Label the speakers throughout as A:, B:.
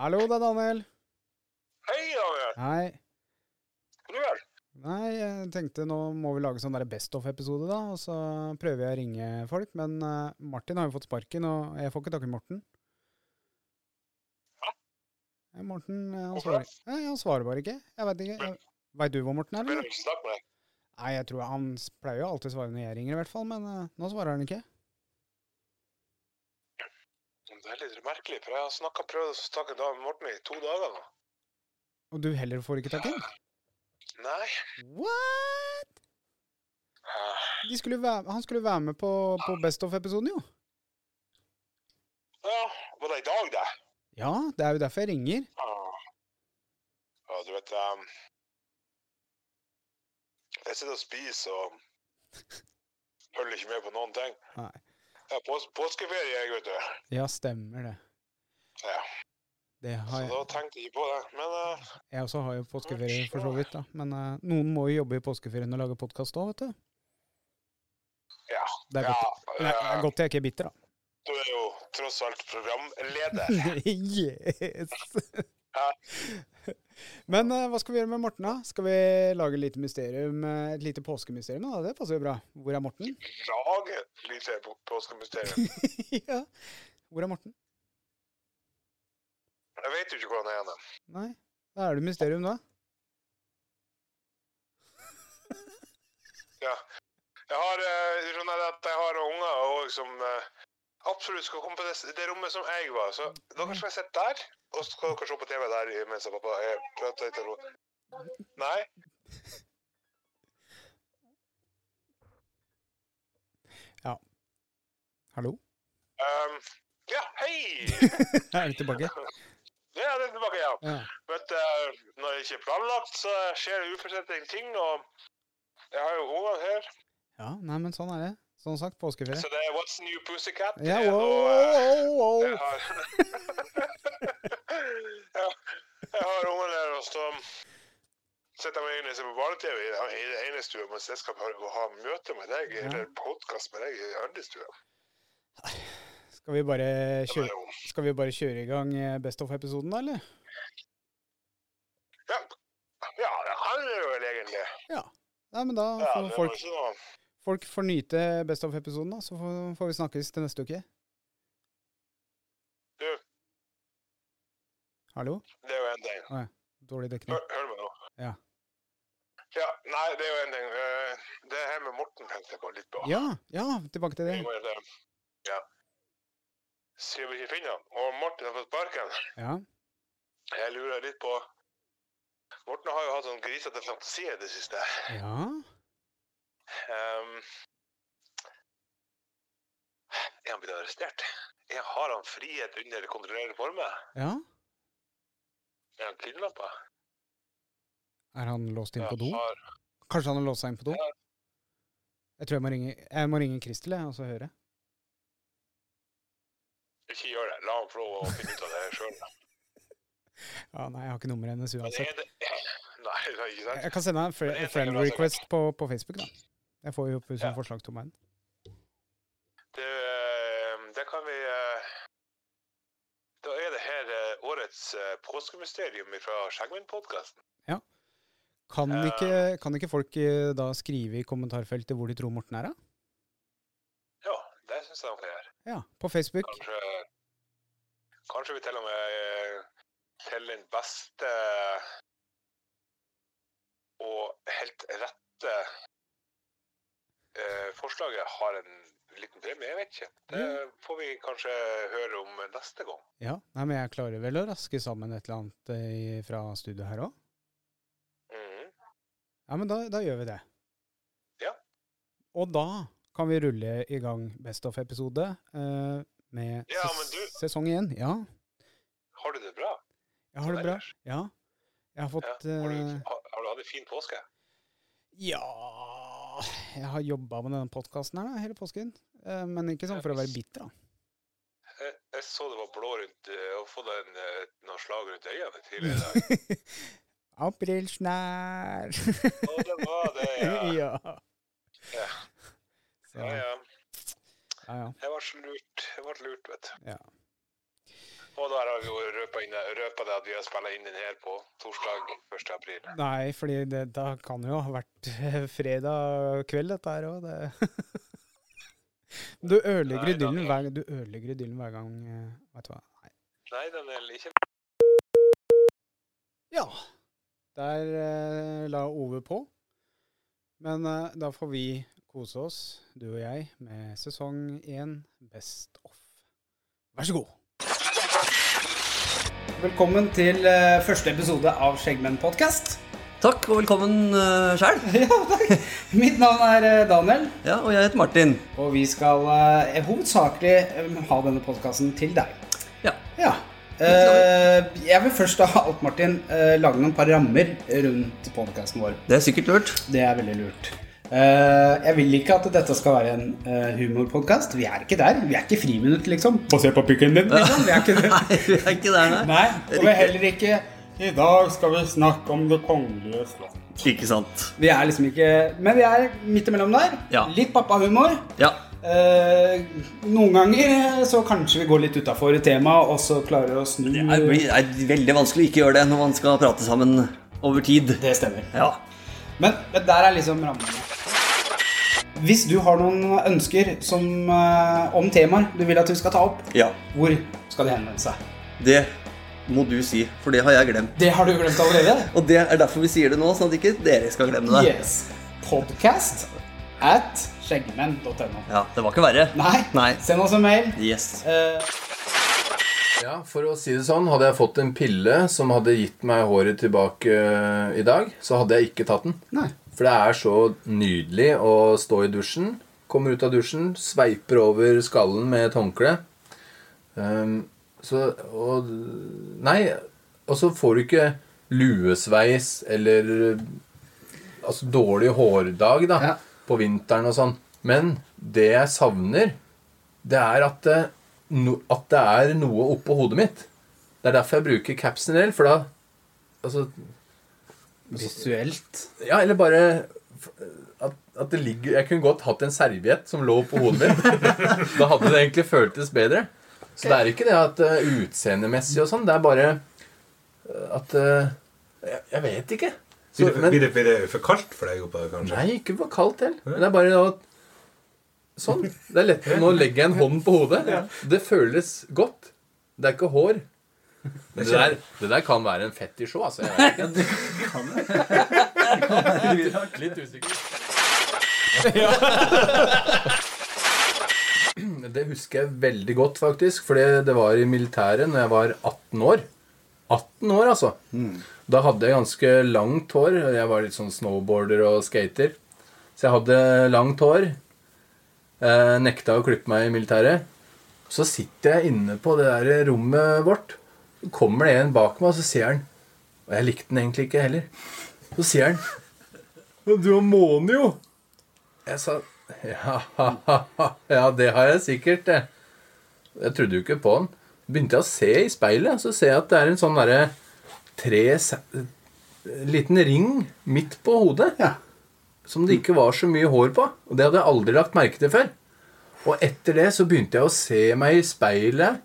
A: Hallo, det er Daniel.
B: Hei, Are.
A: Hei.
B: Du vel?
A: Nei, jeg tenkte nå må vi lage sånn der Best of-episode, da. Og så prøver jeg å ringe folk. Men eh, Martin har jo fått sparken, og jeg får ikke tak i Morten.
B: Hæ?
A: Eh, Morten, eh, han
B: Hvorfor
A: svarer,
B: det?
A: Nei, han svarer bare ikke. Jeg veit ikke.
B: Men-
A: Veit du hvor Morten er,
B: Vil du
A: eller?
B: ikke snakke med deg?
A: Nei, jeg tror han s- pleier jo alltid å svare når jeg ringer, i hvert fall. Men eh, nå svarer han ikke.
B: Det er litt merkelig, for jeg har snakket prøvd å snakke med Dag Morten i to dager nå.
A: Og du heller får ikke tak i ham?
B: Nei.
A: What?!
B: Eh,
A: De skulle være, han skulle være med på, på Best of-episoden, jo.
B: Ja, var det i dag, det?
A: Ja, det er jo derfor jeg ringer.
B: Ah. Ja, du vet ehm, Jeg sitter og spiser og følger ikke med på noen ting.
A: Nei.
B: Det er pås påskeferie, jeg, vet du.
A: Ja, stemmer det.
B: Ja.
A: Det har
B: Så
A: jeg.
B: da tenkte jeg ikke på det. Men eh,
A: Jeg også har jo påskeferie, for så vidt. da. Men eh, noen må jo jobbe i påskeferien og lage podkast òg, vet du.
B: ja.
A: Det er
B: ja,
A: godt, Nei, det
B: eh,
A: er godt jeg ikke er bitter, da.
B: Du er jo tross alt programleder.
A: yes!
B: Ja.
A: Men eh, hva skal vi gjøre med Morten, da? Skal vi lage et lite mysterium, eh, et lite påskemysterium? da? Det passer jo bra. Hvor er Morten?
B: Lag et lite på- påskemysterium.
A: ja. Hvor er Morten?
B: Jeg vet jo ikke hvor han er igjen.
A: Nei. Da er det mysterium, da.
B: Jeg har, eh, sånn er det at jeg har unger og som eh, absolutt skal komme på det, s- det rommet som jeg var. Så dere skal sitte der, og så skal dere se på TV der i- mens jeg pappa er prater i telefon. Nei?
A: Hallo?
B: ehm, ja, hei!
A: Er du tilbake?
B: Ja, det er tilbake, ja.
A: Ja.
B: Vet du, når det ikke er planlagt, så skjer det uforutsette ting, og jeg har jo unger her,
A: ja. Nei, men sånn er det. Som sagt, påskeferie.
B: så det er What's New Pussycat.
A: Ja,
B: Det er
A: wow,
B: noe, eh,
A: wow, wow.
B: Jeg har Ja, Jeg har ungene der, og så setter jeg meg inn og ser på barne-TV i den- i den ene stua, mens jeg skal ha, ha møte med deg,
A: Ja.
B: eller podkast med deg i den andre stua.
A: Skal vi bare
B: Det var
A: kjøre
B: jo-
A: Skal vi bare kjøre i gang eh, Best of-episoden, da, eller?
B: Ja, ja, det handler jo vel egentlig.
A: Nei, men da
B: Ja,
A: får
B: det var
A: folk,
B: ikke noe.
A: folk får nyte Best of-episoden, da. Så får, får vi snakkes til neste uke.
B: Du.
A: Hallo?
B: Det er jo en ting.
A: Dårlig dekning.
B: Hør, hør meg nå.
A: Ja.
B: Ja, nei, det er jo en ting. Eh, Det her med Morten tenkte jeg på litt på.
A: Ja, ja, tilbake til det.
B: Jeg må jo- Ja. Siden vi ikke finner han, og Martin har fått sparken.
A: Ja.
B: Jeg lurer litt på Morten har jo hatt sånn grisete fantasi i det siste.
A: Ja.
B: Ehm, er han blitt arrestert? Er, har han frihet under kontrollerende former?
A: ja.
B: Er han kidnappa?
A: Er han låst inn på do?
B: Har,
A: Kanskje han har låst seg inn på do?
B: Ja.
A: Jeg tror jeg må ringe, jeg må ringe Kristel, jeg, og så høre.
B: ikke gjør det. La han få lov å finne ut av det sjøl.
A: Ja, nei, jeg har ikke nummeret hennes uansett.
B: Nei, det er ikke sant?
A: Jeg kan sende en fri-
B: Men jeg tenker
A: friend
B: det er så
A: request på, på Facebook, da. Jeg får jo opp som
B: Ja.
A: forslag til meg.
B: Det, ehm, det kan vi eh, Da er det her eh, årets eh, påskemysterium fra Skjeggmenn-podkasten.
A: Kan
B: Eh,
A: ikke, kan ikke folk eh, da skrive i kommentarfeltet hvor de tror Morten er, da?
B: Ja, det syns jeg de kan gjøre.
A: Ja, på Facebook.
B: Kanskje, kanskje vi til og med eh, til den beste og helt rette eh, forslaget har en liten premie. Jeg vet ikke. Det får vi kanskje høre om neste gang.
A: Ja, nei, men jeg klarer vel å raske sammen et eller annet eh, fra studio her òg.
B: Mhm.
A: Ja, men da, da gjør vi det.
B: Ja.
A: Og da kan vi rulle i gang Best of-episode eh, med
B: Ja,
A: ses-
B: men du-
A: sesong én. Ja,
B: Har du det bra?
A: jeg har det bra.
B: Ellers?
A: Ja. Jeg har
B: Ja.
A: fått
B: Har, du,
A: eh,
B: har, har du hatt en fin påske?
A: Ja Jeg har jobba med denne podkasten her da, hele påsken. Eh, men ikke sånn for å være bitter, da.
B: Jeg, jeg så det var blå rundt eh, og fått en, eh, noen slag rundt øynene tidligere i dag.
A: Aprilsnær!
B: Og det var det, ja.
A: ja.
B: Ja.
A: Så,
B: Ja,
A: ja,
B: ja.
A: ja.
B: Jeg ble lurt, jeg ble lurt vet du. Og der har vi jo røpa, inn, røpa det at vi har spilt inn den her på torsdag 1. april.
A: Nei, fordi det, da kan jo ha vært eh, fredag kveld, dette her òg. Det. Du ødelegger
B: Nei,
A: idyllen
B: da-
A: hver, du ødelegger idyllen hver gang eh, Vet du hva. Nei.
B: Nei, den er ikke
A: Ja. Der eh, la Ove på. Men eh, da får vi kose oss, du og jeg, med sesong én Best Off. Vær så god. Velkommen til eh, første episode av Skjeggmenn-podkast.
C: Takk, og velkommen uh, sjøl.
A: Mitt navn er eh, Daniel.
C: Ja, og jeg heter Martin.
A: Og vi skal eh, hovedsakelig eh, ha denne podkasten til deg.
C: Ja.
A: Ja. Eh, jeg vil først av alt, Martin, eh, lage noen par rammer rundt podkasten vår.
C: Det er sikkert lurt.
A: Det er veldig lurt. Eh, jeg vil ikke at dette skal være en uh, humorpodkast. Vi er ikke der. Vi er ikke friminutt, liksom. Få se på pikken din, liksom. Vi er ikke det.
C: Nei, vi er ikke der, nei.
A: Nei, og vi er heller ikke I dag skal vi snakke om det kongelige slott.
C: Ikke sant.
A: Vi er liksom ikke Men vi er midt imellom der.
C: Ja.
A: Litt pappahumor.
C: Ja.
A: Eh, noen ganger eh, så kanskje vi går litt utafor temaet, og så klarer vi å snu
C: Det er, det er veldig vanskelig å ikke gjøre det når man skal prate sammen over tid.
A: Det stemmer.
C: Ja.
A: Men, men der er liksom rammene. Hvis du har noen ønsker som, eh, om temaer du vil at vi skal ta opp,
C: ja.
A: hvor skal de henvende seg?
C: Det må du si, for det har jeg glemt.
A: Det har du glemt allerede?
C: Og det er derfor vi sier det nå, sånn at ikke dere skal glemme det.
A: Yes. Podcast at skjeggmenn.no.
C: Ja, det var ikke verre.
A: Nei,
C: Nei.
A: send oss en mail.
C: Yes.
A: Eh,
D: Ja, for å si det sånn, hadde jeg fått en pille som hadde gitt meg håret tilbake eh, i dag, så hadde jeg ikke tatt den.
A: nei.
D: For det er så nydelig å stå i dusjen. Kommer ut av dusjen, sveiper over skallen med et håndkle. Ehm, så Og Nei, og så får du ikke luesveis eller Altså dårlig hårdag, da.
A: Ja.
D: På vinteren og sånn. Men det jeg savner, det er at det, no, at det er noe oppå hodet mitt. Det er derfor jeg bruker capsen en del, for da Altså
A: Visuelt.
D: ja, eller bare at, at det ligger Jeg kunne godt hatt en serviett som lå på hodet mitt. da hadde det egentlig føltes bedre. Så det er ikke det at eh, utseendemessig og sånn. Det er bare eh, at eh, jeg, jeg vet ikke. Så-
E: Blir det,
D: men-
E: blir, det, blir det for kaldt for deg oppå der, kanskje?
D: Nei, ikke for kaldt heller. Men det er bare at Sånn. Det er lettere. Nå legger jeg en hånd på hodet. Det føles godt. Det er ikke hår. Det der, det der kan være en fetisj òg, altså. Jeg vet ikke. Litt usikker. Det husker jeg veldig godt, faktisk. For det var i militæret når jeg var 18 år. 18 år, altså. Da hadde jeg ganske langt hår. Jeg var litt sånn snowboarder og skater. Så jeg hadde langt hår. Eh, nekta å klippe meg i militæret. Så sitter jeg inne på det der rommet vårt. Så kommer det en bak meg, og så sier han Og jeg likte den egentlig ikke heller. Så sier han «Men Du har måne, jo! Jeg sa ja, ja, det har jeg sikkert, det. Jeg trodde jo ikke på den. Begynte jeg å se i speilet, så ser jeg at det er en sånn derre tre se- liten ring midt på hodet
A: Ja.
D: som det ikke var så mye hår på. Og det hadde jeg aldri lagt merke til før. Og etter det så begynte jeg å se meg i speilet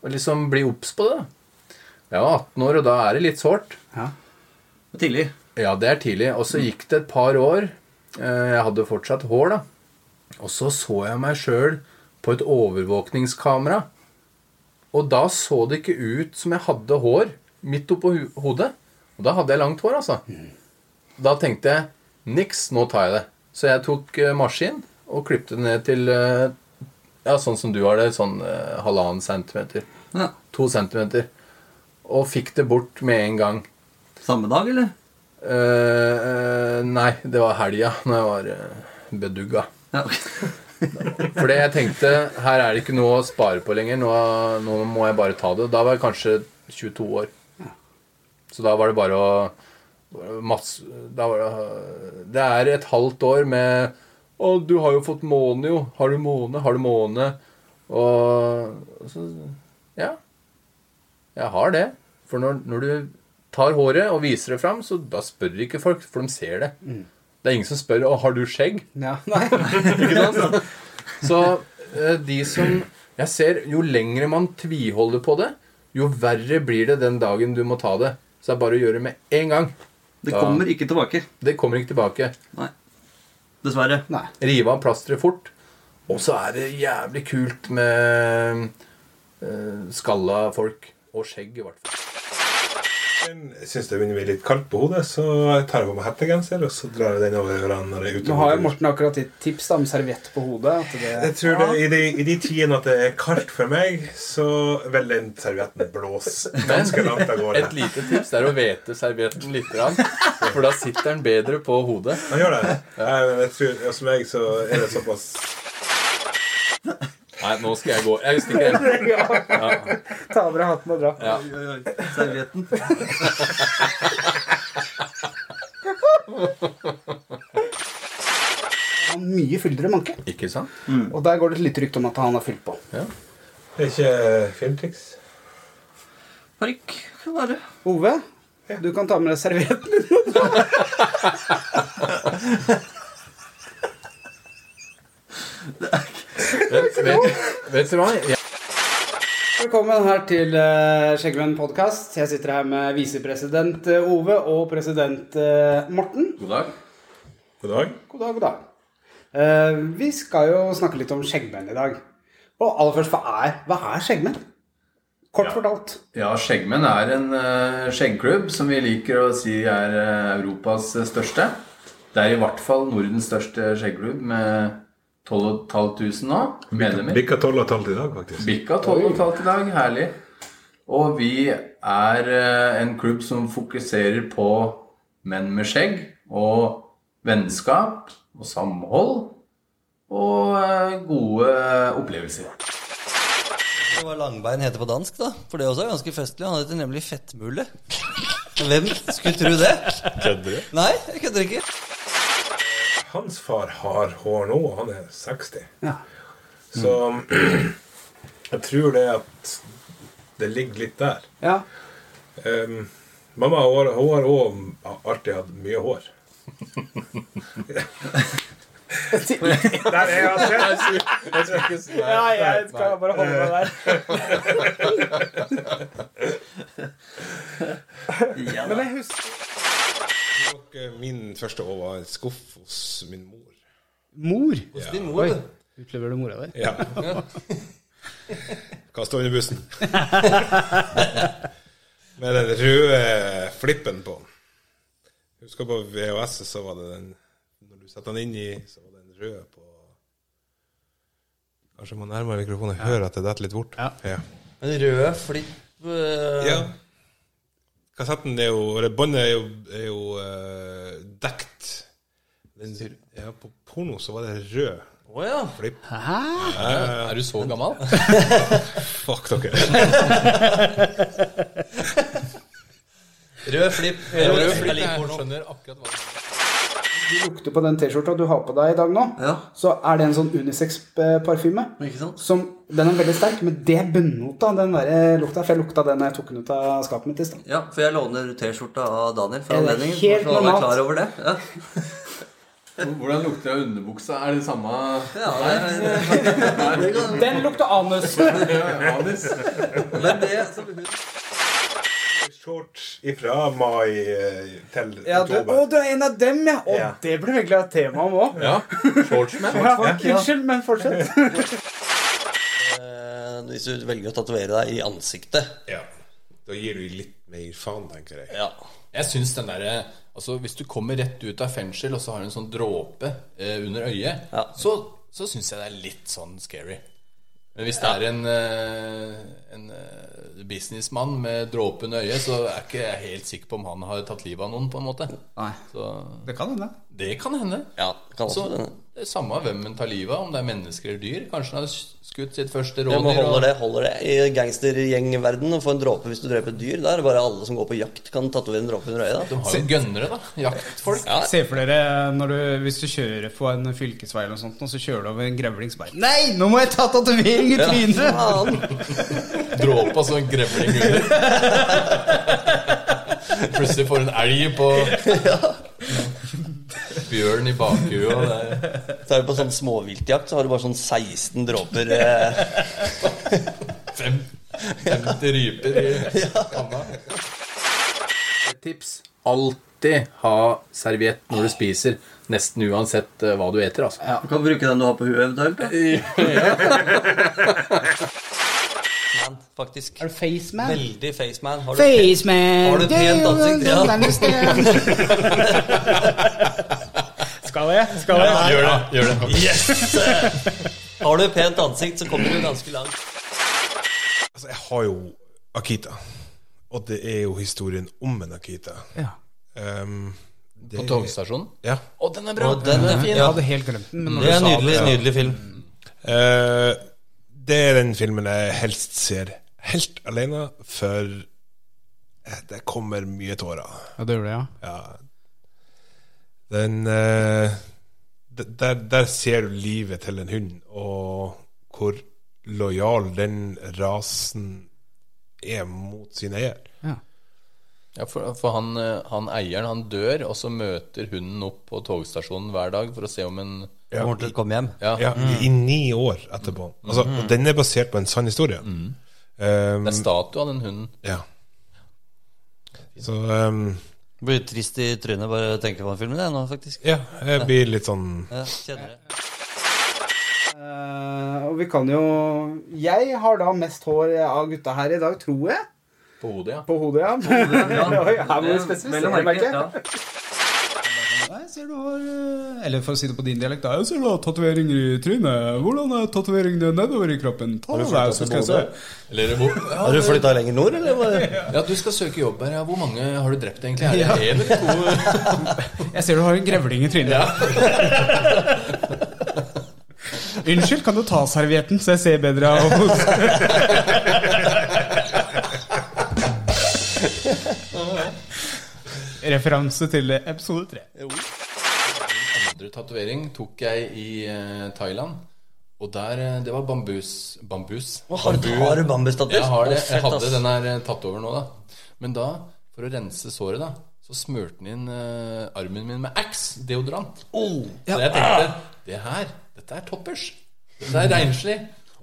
D: og liksom bli obs på det. Jeg var 18 år, og da er det litt sårt.
A: Ja.
C: Tidlig.
D: Ja, det er tidlig. Og så gikk det et par år. Eh, Jeg hadde fortsatt hår, da. Og så så jeg meg sjøl på et overvåkningskamera. Og da så det ikke ut som jeg hadde hår midt oppå hu- hodet. Og da hadde jeg langt hår, altså. Da tenkte jeg niks, nå tar jeg det. Så jeg tok eh, maskin og klippte det ned til eh, ja, sånn som du har det, sånn eh, halvannen centimeter.
C: Ja.
D: To centimeter. Og fikk det bort med en gang.
C: Samme dag, eller?
D: Eh, eh, nei, det var helga når jeg var eh, bedugga.
C: Ja, ok.
D: Fordi jeg tenkte her er det ikke noe å spare på lenger. Nå, nå må jeg bare ta det. Da var jeg kanskje 22 år. Så da var det bare å masse, da var det, det er et halvt år med Å, du har jo fått måne, jo. Har du måne? Har du måne? Og så Ja. Jeg har det. For når, når du tar håret og viser det fram, så da spør ikke folk, for de ser det. Det er ingen som spør 'Å, har du skjegg?'
A: ja. Nei.
D: Ikke sant? Så eh, de som Jeg ser jo lengre man tviholder på det, jo verre blir det den dagen du må ta det. Så det er bare å gjøre det med en gang.
F: Det
D: Da-
F: kommer ikke tilbake.
D: Det kommer ikke tilbake.
F: Nei. Dessverre.
A: Nei.
D: Rive av plasteret fort. Og så er det jævlig kult med eh, skalla folk. Og skjegg, i hvert fall.
G: Men jeg syns det begynner å bli litt kaldt på hodet, så jeg tar på meg hettegenser og så drar jeg den over hverandre når jeg er ute.
A: Nå har
G: på
A: jo
G: tur.
A: Morten akkurat et tips da, om serviett på hodet. At det,
G: Jeg tror det, i, de, I de tidene at det er kaldt for meg, så vil den servietten blåse ganske langt av gårde.
D: Et lite tips er å hvete servietten litt, grann, for da sitter den bedre på hodet.
G: Han gjør det. Nei, men jeg tror, Hos meg så er det såpass
D: Nei, nå skal jeg gå. Jeg stikker hjem.
A: ta av deg hatten og dra.
D: Ja.
F: Oi, oi, oi. Servietten.
A: Han har mye fyldigere manke.
D: Ikke sant?
A: Og der går det litt rykte om at han har fylt på.
G: Det er ikke filmtriks.
F: Parykk kan være.
A: Ove, du kan ta med deg servietten din.
D: Vet, vet, vet du hva? Jeg,
A: Velkommen her til eh, Skjeggvenn podkast. Jeg sitter her med visepresident eh, Ove og president eh, Morten.
D: God dag.
G: God dag.
A: God dag, god dag. Eh, vi skal jo snakke litt om skjeggmenn i dag. Og aller først, hva er, hva er skjeggmenn? Kort fortalt.
D: Ja, Skjeggmenn er en eh, skjeggklubb som vi liker å si er eh, Europas største. Det er i hvert fall Nordens største skjeggklubb med 12 500 nå, medlemmer.
G: Bikka tolv og tolv i dag, faktisk.
D: Bikka 12 500 i dag, herlig. Og vi er eh, en klubb som fokuserer på menn med skjegg og vennskap og samhold og eh, gode opplevelser.
C: Det var langbein heter på dansk, da. For det også er ganske festlig. Han heter nemlig Fettmule. Hvem skulle tro det?
G: Kødder du?
C: Nei, jeg kødder ikke.
G: Hans far har hår nå, og han er 60.
A: Ja.
G: Så jeg tror det at det ligger litt der.
A: ja.
G: Ehm, mamma hun har hun har også alltid hatt mye hår. Nei, jeg har sett
A: jeg skal bare holde meg der.
F: Ja,
A: Men jeg husker
G: Min første år var en skuff hos min mor.
A: Mor.
C: Hos din mor, du.
A: Utlever du mora di?
G: Ja. Kasta under bussen. Med den røde flippen på. Husker på VHS, så var det den Når du setter den inn i, så var den røde på Kanskje jeg må nærme meg mikrofonen og høre at det detter litt bort.
A: Ja.
G: Ja.
C: En rød flipp eh,
G: Ja. Kassetten er jo Eller båndet er jo, er jo eh, dekt. Men ja, på porno så var det rød
C: Å ja.
G: flipp.
D: Er du så gammel?
G: Fuck dere.
C: Rød flipp. Rød flipp. Jeg liker porno.
D: skjønner akkurat hva
A: Du lukter på den T-skjorta du har på deg i dag nå.
F: Ja.
A: Så er det en sånn unisex-parfyme.
F: Ikke sant?
A: Som, den er veldig sterk, men det er bunnota, den der eh, lukta. For jeg lukta den da jeg tok den ut av skapet mitt i stad.
F: ja, for jeg låner T-skjorta av Daniel for
A: Er det
F: anledningen.
A: helt
F: så han var
A: normalt?
F: klar over det. Ja.
D: Hvordan lukter det av underbuksa? Er det samme
F: Ja, det er-
A: Den lukta anus!
D: anus?
F: men det som hun
G: Short ifra mai eh, til
A: Ja, du,
G: oktober.
A: å, du er en av dem, ja! Å,
G: Ja.
A: det blir virkelig et tema om òg.
D: Ja. Shortsman.
A: Ja, unnskyld, men fortsett.
C: Eh, Hvis du velger å tatovere deg i ansiktet.
G: Ja. Da gir du litt mer faen, tenker jeg.
C: Ja.
D: Jeg syns den derre Altså, hvis du kommer rett ut av fengsel, og så har du en sånn dråpe eh, under øyet,
C: Ja.
D: så, så syns jeg det er litt sånn scary. Men hvis det er en, eh, en eh, businessmann med dråpe under øyet, så er ikke jeg helt sikker på om han har tatt livet av noen, på en måte.
F: Nei.
D: Så
A: Det kan hende.
D: det kan hende.
C: ja kan
D: Så
C: også,
D: det er samme hvem en tar livet av, om det er mennesker eller dyr. Kanskje han har skutt sitt første
C: Ja, men
D: rådyr.
C: holder
D: og-
C: det, holder det. I gangstergjengverdenen å få en dråpe hvis du dreper et dyr. Da er det bare alle som går på jakt, kan tatovere en dråpe under øyet. da.
D: De har jo gønnere, da. Jaktfolk.
C: Ja.
H: Se for dere når du, hvis du kjører på en fylkesvei eller noe sånt, og så kjører du over en grevlings bein. Nei, nå må jeg ta tatovering i trynet!
C: Faen!
D: Dråpe av sånn grevling under. Plutselig får en elg på Bjørn i bakhuet. og det er-
C: Så er du på sånn småviltjakt, så har du bare sånn 16 dråper eh,
D: Fem.
G: Det ryper i
D: Et tips. Alltid ha serviett når du spiser. Nesten uansett eh, hva du eter, altså.
I: Du kan bruke den du har på huet eventuelt. da.
C: Man, faktisk.
A: Er du faceman?
C: Veldig faceman. Har du
A: Faceman!
C: Har du pent ansikt? Ja.
A: Skal jeg? Skal jeg?
G: Gjør det. gjør det
C: Yes! Har du pent ansikt, så kommer du ganske langt.
G: Altså, jeg har jo Akita. Og det er jo historien om en Akita.
A: Ja.
G: Ehm, det,
D: På togstasjonen.
G: Ja.
D: Å, den er bra!
C: Og den er fin.
A: Jeg hadde helt glemt den. Men når
C: Det er
A: du
C: en
A: sa
C: nydelig, nydelig film.
G: Eh, det er den filmen jeg helst ser helt alene, for eh, det kommer mye tårer.
A: Ja, det gjorde det, ja.
G: Ja. Den eh, d- der, der ser du livet til en hund, og hvor lojal den rasen er mot sin eier.
D: Ja, for, for han, eh, han eieren, han dør, og så møter hunden opp på togstasjonen hver dag for å se om en
C: Kommer til å komme hjem.
D: Ja, Mm.
G: Ja, I ni år etterpå. Altså, og den er basert på en sann historie. Um,
D: Mm. det er statue av den hunden.
G: ja. Så um,
C: Blir trist i trynet bare jeg tenker på den filmen, jeg nå, faktisk.
G: ja, jeg blir litt sånn
C: Ja, kjenner det.
J: Eh, og vi kan jo Jeg har da mest hår av gutta her i dag, tror jeg.
D: På hodet, ja.
J: På hodet, ja. Oi, her må vi spesifisere, merker jeg.
A: Nei, jeg ser du har eh, Eller for å si det på din dialekt, da. Jeg ser du har tatoveringer i trynet. Hvordan er tatoveringene nedover i kroppen? Ta det der, så skal jeg se.
D: Eller hvor ja,
C: Har du flytta lenger nord, eller? var det-
D: ja, du skal søke jobb her. Ja. Hvor mange har du drept, egentlig? Er det en eller to?
A: Jeg ser du har en grevling i trynet. Unnskyld, kan du ta servietten, så jeg ser bedre av Referanse til episode tre.
D: andre tatovering tok jeg i eh, Thailand. Og der eh, Det var bambus. Bambus.
C: Å, Har du, har du bambustatus?
D: Jeg har det.
C: Å, fett,
D: Jeg hadde
C: ass.
D: den her eh, tatt over nå, da. Men da, for å rense såret, da, så smurte den inn eh, armen min med Axe deodorant. Så jeg
C: Ah,
D: tenkte det her, dette er toppers. Dette er renslig.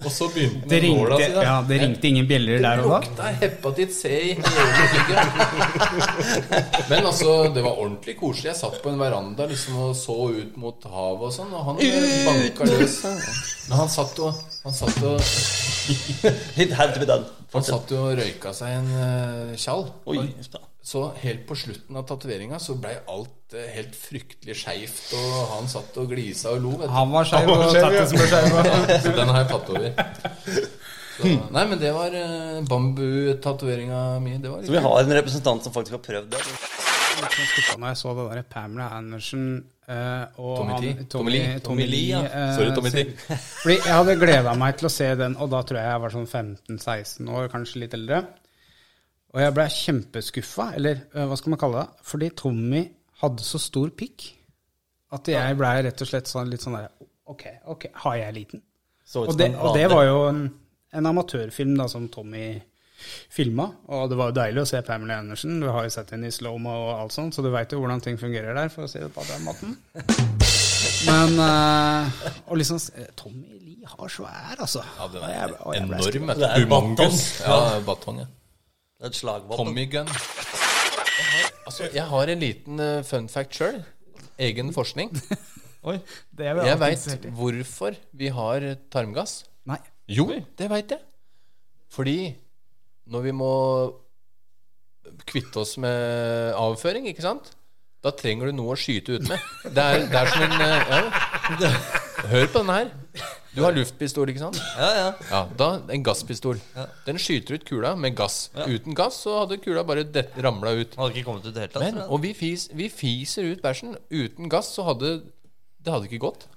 D: Og så begynte
A: Det
D: den med nåla
A: ringte,
D: si, da.
A: ja, det ringte ingen bjeller der og da.
D: Lukta hepatitt C i hele ryggen. Men altså, det var ordentlig koselig. Jeg satt på en veranda liksom og så ut mot havet og sånn, og han eh, banka løs. Men han satt og Han satt og,
C: It had to be done.
D: han satt og røyka seg en eh, tjall.
C: Oi.
D: Så helt på slutten av tatoveringa så blei alt eh, helt fryktelig skeivt, og han satt og glisa og lo. Vet du.
A: Han var skeiv, og tattisen ble skeiv.
D: Så den har jeg tatt over. Så, nei, men det var eh, bambu-tatoveringa mi. Det var
C: Så vi har en representant som faktisk har prøvd det.
A: skuffa når jeg så det der Pamela Andersen eh, og
D: Tommy T.
A: han, Tommy,
D: Tommy Lee.
A: Tommy Lee,
C: ja.
A: eh,
D: Sorry, Tommy T.
A: så- Fordi jeg hadde gleda meg til å se den, og da tror jeg jeg var sånn 15-16 år, kanskje litt eldre. Og jeg ble kjempeskuffa, eller eh, hva skal man kalle det, fordi Tommy hadde så stor pikk at jeg blei rett og slett sånn, litt sånn der Ok, ok, har jeg liten?
C: Så
A: Og
C: ut som
A: det,
C: en
A: og det
C: plate.
A: var jo en, en amatørfilm da, som Tommy filma, og det var jo deilig å se Pamela Andersen. Du har jo sett henne i slow-mo og alt sånt, så du veit jo hvordan ting fungerer der, for å si det på den måten. Men eh, Og liksom eh, Tommy Lee har svær, altså.
D: Ja, den
A: Og jeg
D: er
A: ble- og jeg ble
D: enorm.
C: Det er
D: Humongous.
C: batong.
D: Ja, det er batong, ja.
C: Det er et slagvåpen.
D: Tommy gun. Jeg har- Altså, jeg har en liten eh, fun fact sjøl. Egen forskning.
A: Oi, det er vel
D: Jeg
A: alltid interessert
D: veit
A: i.
D: hvorfor vi har tarmgass.
A: Nei.
D: Jo, det veit jeg. Fordi når vi må kvitte oss med avføring, ikke sant, da trenger du noe å skyte ut med. Det er, det er som en eh, ja, det, Hør på denne her. Du har luftpistol, ikke sant?
C: Ja, ja.
D: Ja, da En gasspistol. Den skyter ut kula med gass. Uten gass så hadde kula bare det- ramla ut.
C: Han hadde ikke kommet ut i det hele tatt.
D: Men,
C: tror jeg.
D: og vi, fis, vi fiser ut bæsjen. Uten gass så hadde det hadde ikke gått.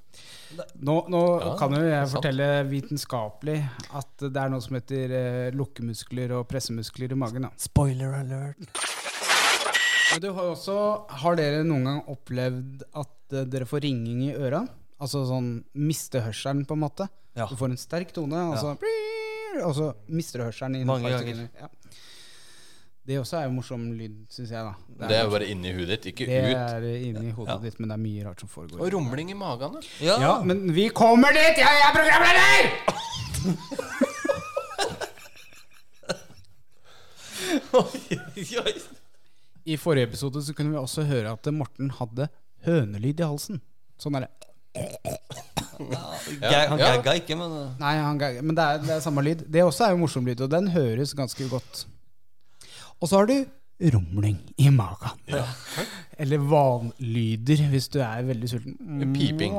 A: Nå, nå
D: Ja,
A: kan jo jeg
D: sant.
A: fortelle vitenskapelig at det er noe som heter eh, lukkemuskler og pressemuskler i magen. da.
C: Spoiler alert.
A: Men du har jo også, har dere noen gang opplevd at eh, dere får ringing i øra? Altså sånn miste hørselen, på en måte.
C: Ja.
A: Du får en sterk tone, og så, og så mister du hørselen. innen
C: Mange
A: et par
C: ganger.
A: sekunder. Ja. Det også er jo morsom lyd, syns jeg. da
D: Det er jo bare inni hudet ditt, ikke
A: det
D: ut.
A: er inni hodet ditt, men det er mye rart som
D: Og
A: foregår.
D: rumling i magen. da.
C: Ja.
A: Ja, men vi kommer dit! Jeg er programleder!
C: Oi, oi, oi.
A: I forrige episode så kunne vi også høre at Morten hadde hønelyd i halsen. Sånn er det.
C: Ga- Han
D: ja.
C: gagga ikke, men eh,
A: Nei, han, gagger, men det er, det er samme lyd. Det også er jo morsom lyd, og den høres ganske godt. Og så har du rumling i magen. Eller vanlyder hvis du er veldig sulten.
C: Mm.
D: Piping.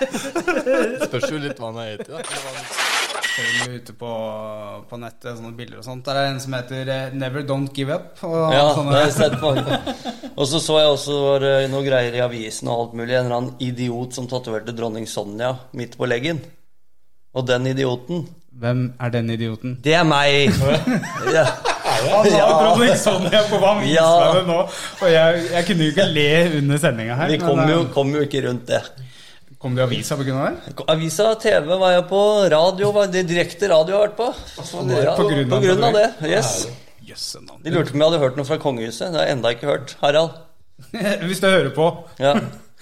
D: Spørs jo litt hva han har spist, da.
A: Ser du ute på, på nettet, sånne bilder og sånt. Der er det en som heter eh, Never Don't Give Up. Og
C: Ja, Ah, det
A: sånne-
C: har jeg sett mange. Og så så jeg også var, eh, noen greier i avisen og alt mulig. En eller annen idiot som tatoverte dronning Sonja midt på leggen. Og den idioten,
A: Hvem er den idioten?
C: det er meg! Ja.
A: Han har
C: Ja.
A: dronning Sonja på hva han viser
C: Ja.
A: meg nå, og jeg, jeg kunne jo ikke le under sendinga her.
C: Vi
A: men,
C: kom jo,
A: eh,
C: kom jo ikke rundt det.
A: Kom det i avisa på grunn av det?
C: Avisa, TV var jeg på, radio var det direkte radio jeg har vært på. Så det-
A: på grunn av
C: på grunn av det.
A: det.
C: Yes.
A: Jøsse navn.
C: De lurte på om jeg hadde hørt noe fra kongehuset. Det har jeg enda ikke hørt. Harald.
A: Hvis du hører på,
C: Ja.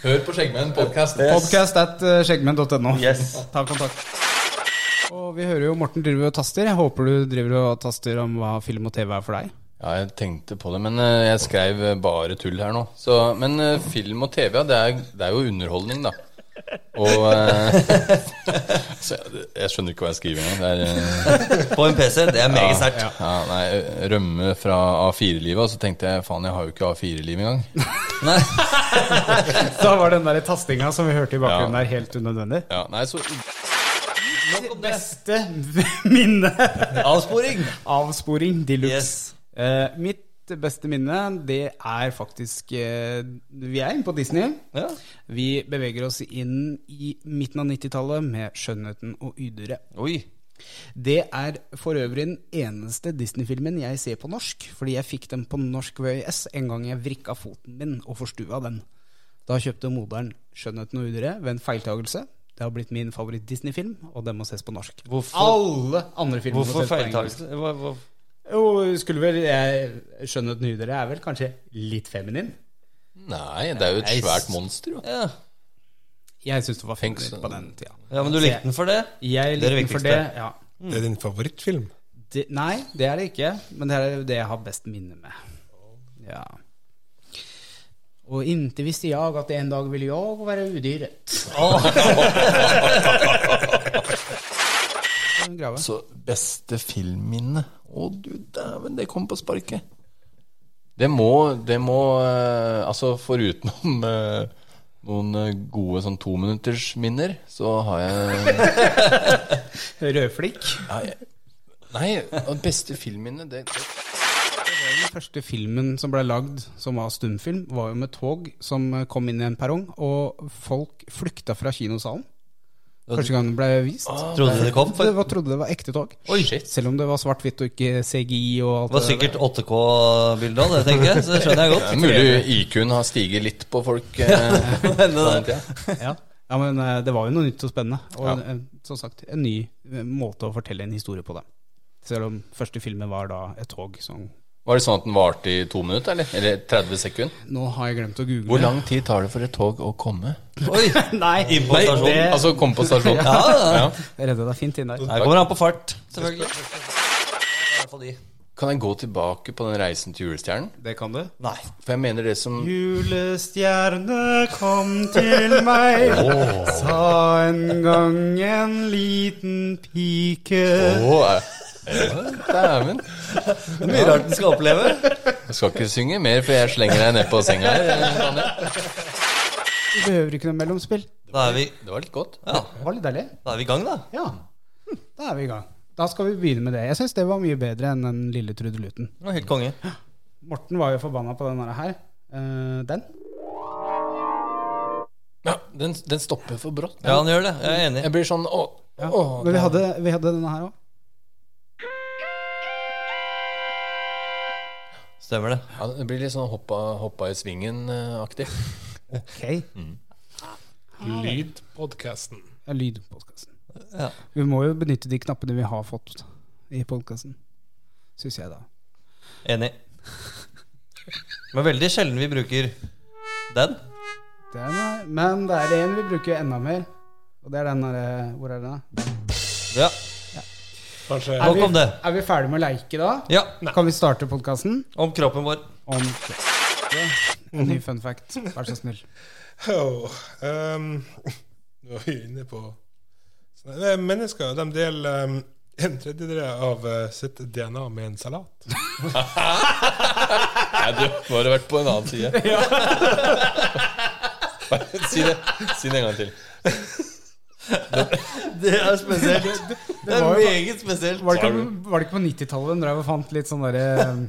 D: Hør på Skjeggmenn podkast.
C: Yes.
A: podcast at eh, skjeggmenn.no.
C: Yes.
A: Ta kontakt. Og vi hører jo Morten driver og taster. Jeg håper du driver og taster om hva film og TV er for deg.
D: Ja, jeg tenkte på det, men eh, jeg skrev eh, bare tull her nå. Så, men eh, film og TV, ja, det er, det er jo underholdning, da. Og eh, så jeg, jeg skjønner ikke hva jeg skriver engang. Det er, eh,
C: På en PC. Det er meget sterkt.
D: ja, nei, rømme fra A4-livet, og så tenkte jeg faen, jeg har jo ikke A4-liv engang.
C: Nei.
A: Da var den der tastinga som vi hørte i bakgrunnen
D: Ja.
A: der, helt unødvendig.
D: Ja, nei, så
C: Nok om det.
A: Beste minne
C: Avsporing.
A: Avsporing de luxe.
C: Yes.
A: Eh, mitt beste minne, det er faktisk eh, Vi er inne på Disney.
C: Ja.
A: Vi beveger oss inn i midten av 90-tallet med 'Skjønnheten og udyret'.
C: Oi.
A: Det er for øvrig den eneste Disney-filmen jeg ser på norsk, fordi jeg fikk den på norsk VØS en gang jeg vrikka foten min og forstua den. Da kjøpte moderen 'Skjønnheten og udyret' ved en feiltagelse. Det har blitt min favoritt-Disney-film, og den må ses på norsk.
C: Hvorfor-
A: Alle andre filmer
C: Hvorfor
A: må ses på engelsk.
C: feiltakelse? Hva- hva-
A: Jo, skulle vel jeg skjønne at nudere er vel kanskje litt feminin?
D: Nei, det er jo et svært monster, jo.
C: Ja.
A: Jeg syns det var
D: Tenk
A: feminin
D: så-
A: på den tida.
C: ja, men du likte den for det?
A: Jeg
C: Det er det
A: likte den for det,
C: viktigste.
A: ja.
G: Det er din favorittfilm?
A: Det, nei, det er det ikke, men det er det jeg har best minne med. Ja. Og inntil visste jeg at en dag ville jeg være udyret. Grave.
D: Så beste filmminne Å, du dæven, det kom på sparket. Det må, det må eh, Altså, forutenom eh, noen eh, gode sånn tominuttersminner, så har jeg
A: Rødflikk.
D: Nei, nei og beste filmminne det, det
A: Den første filmen som ble lagd som var stumfilm, var jo med tog som kom inn i en perrong, og folk flykta fra kinosalen. Første gang den ble vist.
D: Ah,
C: Trodde du det kom?
A: Det
C: For
A: var, trodde det var ekte tog. Selv om det var svart-hvitt og ikke CGI og alt
C: det var sikkert 8K-bilde av det, tenker jeg. Så det skjønner jeg
D: det er
C: godt.
D: mulig IQ-en har stiget litt på folk. eh, på den tida.
A: der. Ja. ja, men eh, det var jo noe nytt og spennende. Og
D: Ja.
A: en- en, som sagt, en ny eh, måte å fortelle en historie på, da. Selv om første filmen var da et tog som
D: Var det sånn at den varte i to minutter, eller? Eller 30 sekunder?
A: Nå har jeg glemt å google.
D: Hvor lang tid tar det for et tog å komme?
C: Oi. sånn.
A: Nei,
C: Inn på stasjonen.
A: det-
D: Altså komme på stasjonen?
C: Ja, ja.
D: Ja.
A: Jeg redder deg fint inn der.
C: Her kommer han på fart, selvfølgelig. I hvert fall de.
D: Kan jeg gå tilbake på den reisen til julestjernen?
A: Det kan du.
C: Nei.
D: For jeg mener det som
A: Julestjerne kom til meg, sa en gang en liten pike.
D: Åh, eh, Dæven.
C: Det er mye rart den skal oppleve.
D: Jeg skal ikke synge mer, for jeg slenger deg ned på senga. her.
A: Du behøver ikke noe mellomspill.
C: Da er vi,
D: Det var litt godt.
C: ja,
A: Det var litt deilig.
C: da er vi i gang, da.
A: Ja. Hm, Da er vi i gang. Da skal vi begynne med det. Jeg syns det var mye bedre enn den lille trudeluten.
C: Det var helt konge.
A: Morten var jo forbanna på den her. Eh, den.
D: Ja, den, den stopper for brått.
C: Ja, han gjør det. Jeg er enig.
D: Jeg blir sånn åh,
A: Ja.
D: åh,
A: Men vi hadde, vi hadde denne her òg.
C: Stemmer det.
D: ja, Det blir litt sånn hoppa, hoppa i eh, svingen-aktig.
A: Ok.
G: Lydpodkasten.
A: Ja, lyd på podcasten.
C: Ja.
A: Vi må jo benytte de knappene vi har fått i podkasten. Syns jeg, da.
C: Enig. Men veldig sjelden vi bruker den.
A: Den er, men det er en vi bruker enda mer. Og det er den derre Hvor er den, da?
C: Ja,
G: Kanskje
C: Nok om det.
A: Er vi ferdige med å leike da?
C: Ja,
A: Kan vi starte podkasten?
C: Om kroppen vår.
A: Om en ny fun fact. Vær så snill.
G: oh, ehm, Nå er vi inne på sånn, nei, Mennesker de deler ehm, en tredjedel av eh, sitt DNA med en salat.
K: Nei, du, nå har du vært på en annen side. Bare si det Si det en gang til.
C: Det er spesielt. Det er
A: var jo-
C: meget spesielt.
A: Var det ikke, var det ikke på 90-tallet de drev og fant litt sånn derre um,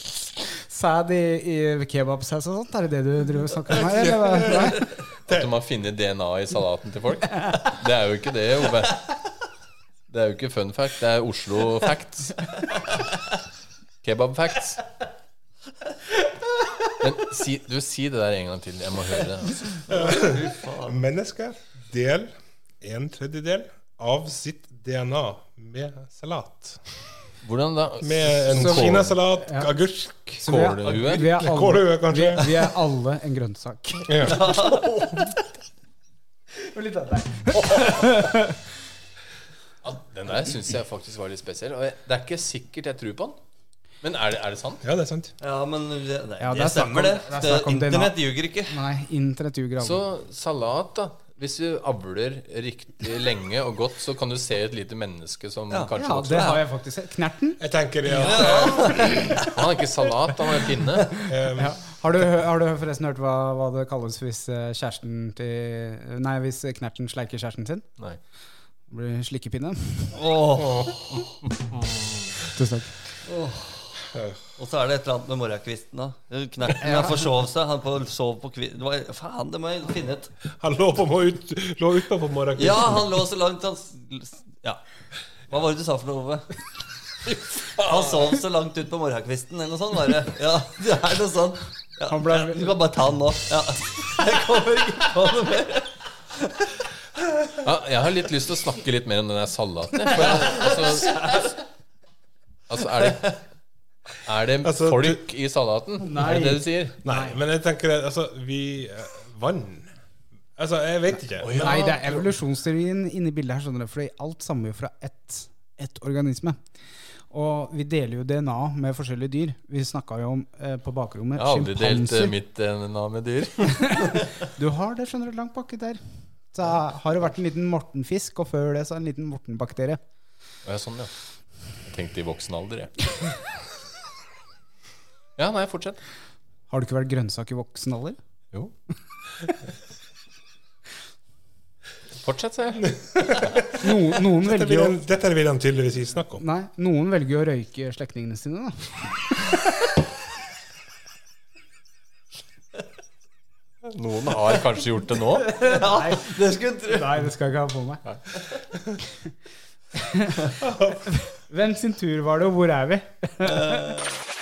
A: Sæd i, i kebabsaus og sånt? Er det det du driver og snakker om her? Eller? hva? Nei?
K: At de har funnet DNA i salaten til folk. Det er jo ikke det, Ove. Det er jo ikke fun fact, det er Oslo facts. Kebab facts. Men si, du, si det der en gang til. Jeg må høre det. Altså.
G: Mennesker deler en tredjedel av sitt DNA med salat.
K: Hvordan da?
G: Med en
K: Som kål-
G: kinasalat, agurk,
A: Så vi er-
K: Kålhue?
A: Vi er alle,
G: kålhue, kanskje.
A: vi er alle en grønnsak.
G: Ja.
K: Ja, Den der syns jeg faktisk var litt spesiell. Og jeg, det er ikke sikkert jeg tror på den. Men er det, er det sant?
G: ja, det er sant.
C: Ja, men det, det,
A: Ja, det
C: det
A: er snakk om-
C: stemmer, det.
A: det er
C: det
A: snakk om DNA.
C: Internett ljuger ikke.
A: Nei, internett ljuger
K: Så
A: aldri.
K: salat, da. Hvis du avler riktig lenge og godt, så kan du se et lite menneske som kanskje
A: Ja,
K: vokser.
A: det har jeg faktisk sett. Knerten?
G: Jeg tenker det at
K: Han er ikke salat, han er pinne.
G: ehm,
A: Har du, hø- har du forresten hørt hva, hva det kalles hvis eh, kjæresten til Nei, hvis knerten sleiker kjæresten sin?
K: Nei.
A: Det blir slikkepinne.
C: Åh.
A: Tusen takk.
C: Og så er det et eller annet med morgenkvisten. da Knerten han forsov seg. Han på, sov på kvi... Det var, faen, det må jeg finne ut.
G: han lå, på, må ut, lå utpå på morgenkvisten.
C: Ja, han lå så langt han s- Ja. Hva var det du sa for noe, Ove? Han sov så langt ut på morgenkvisten, eller noe sånt. Bare. Ja, det er noe sånt. Ja,
A: Han ble-
C: Du kan bare ta han nå. Ja. Jeg kommer ikke på noe mer.
K: Ja, jeg har litt lyst til å snakke litt mer om den der salaten. jeg. For jeg, altså, altså, er det Er det
G: Altså, du-
K: folk i salaten? Er det det du sier?
G: Nei, men jeg tenker at altså, vi eh, Vann Altså, jeg vet ikke. Men,
A: Nei, det er evolusjonsteorien inne i bildet her, skjønner du. Fordi alt stammer jo fra ett ett organisme. Og vi deler jo DNA med forskjellige dyr. Vi snakka jo om eh, på bakrommet
K: Jeg har aldri delt eh,
A: sjimpanser.
K: mitt DNA med dyr.
A: Du har det, skjønner du, langt baki der. Så har det vært en liten mortenfisk, og før det så en liten mortenbakterie.
K: Å, Ja, sånn, ja. Jeg tenkte i voksen alder, jeg. Ja, nei, fortsett.
A: Har du ikke vært grønnsak i voksen alder?
K: Jo. Fortsett, sier jeg.
A: Noen, noen
G: dette,
A: velger
G: vil
A: jo
G: han, dette vil han tydeligvis ikke snakke om.
A: Nei, noen velger jo å røyke slektningene sine, da.
K: Noen har kanskje gjort det nå.
C: Ja, det skulle en tro.
A: Nei, det skal jeg ikke ha på meg. Hvem sin tur var det, og hvor er vi?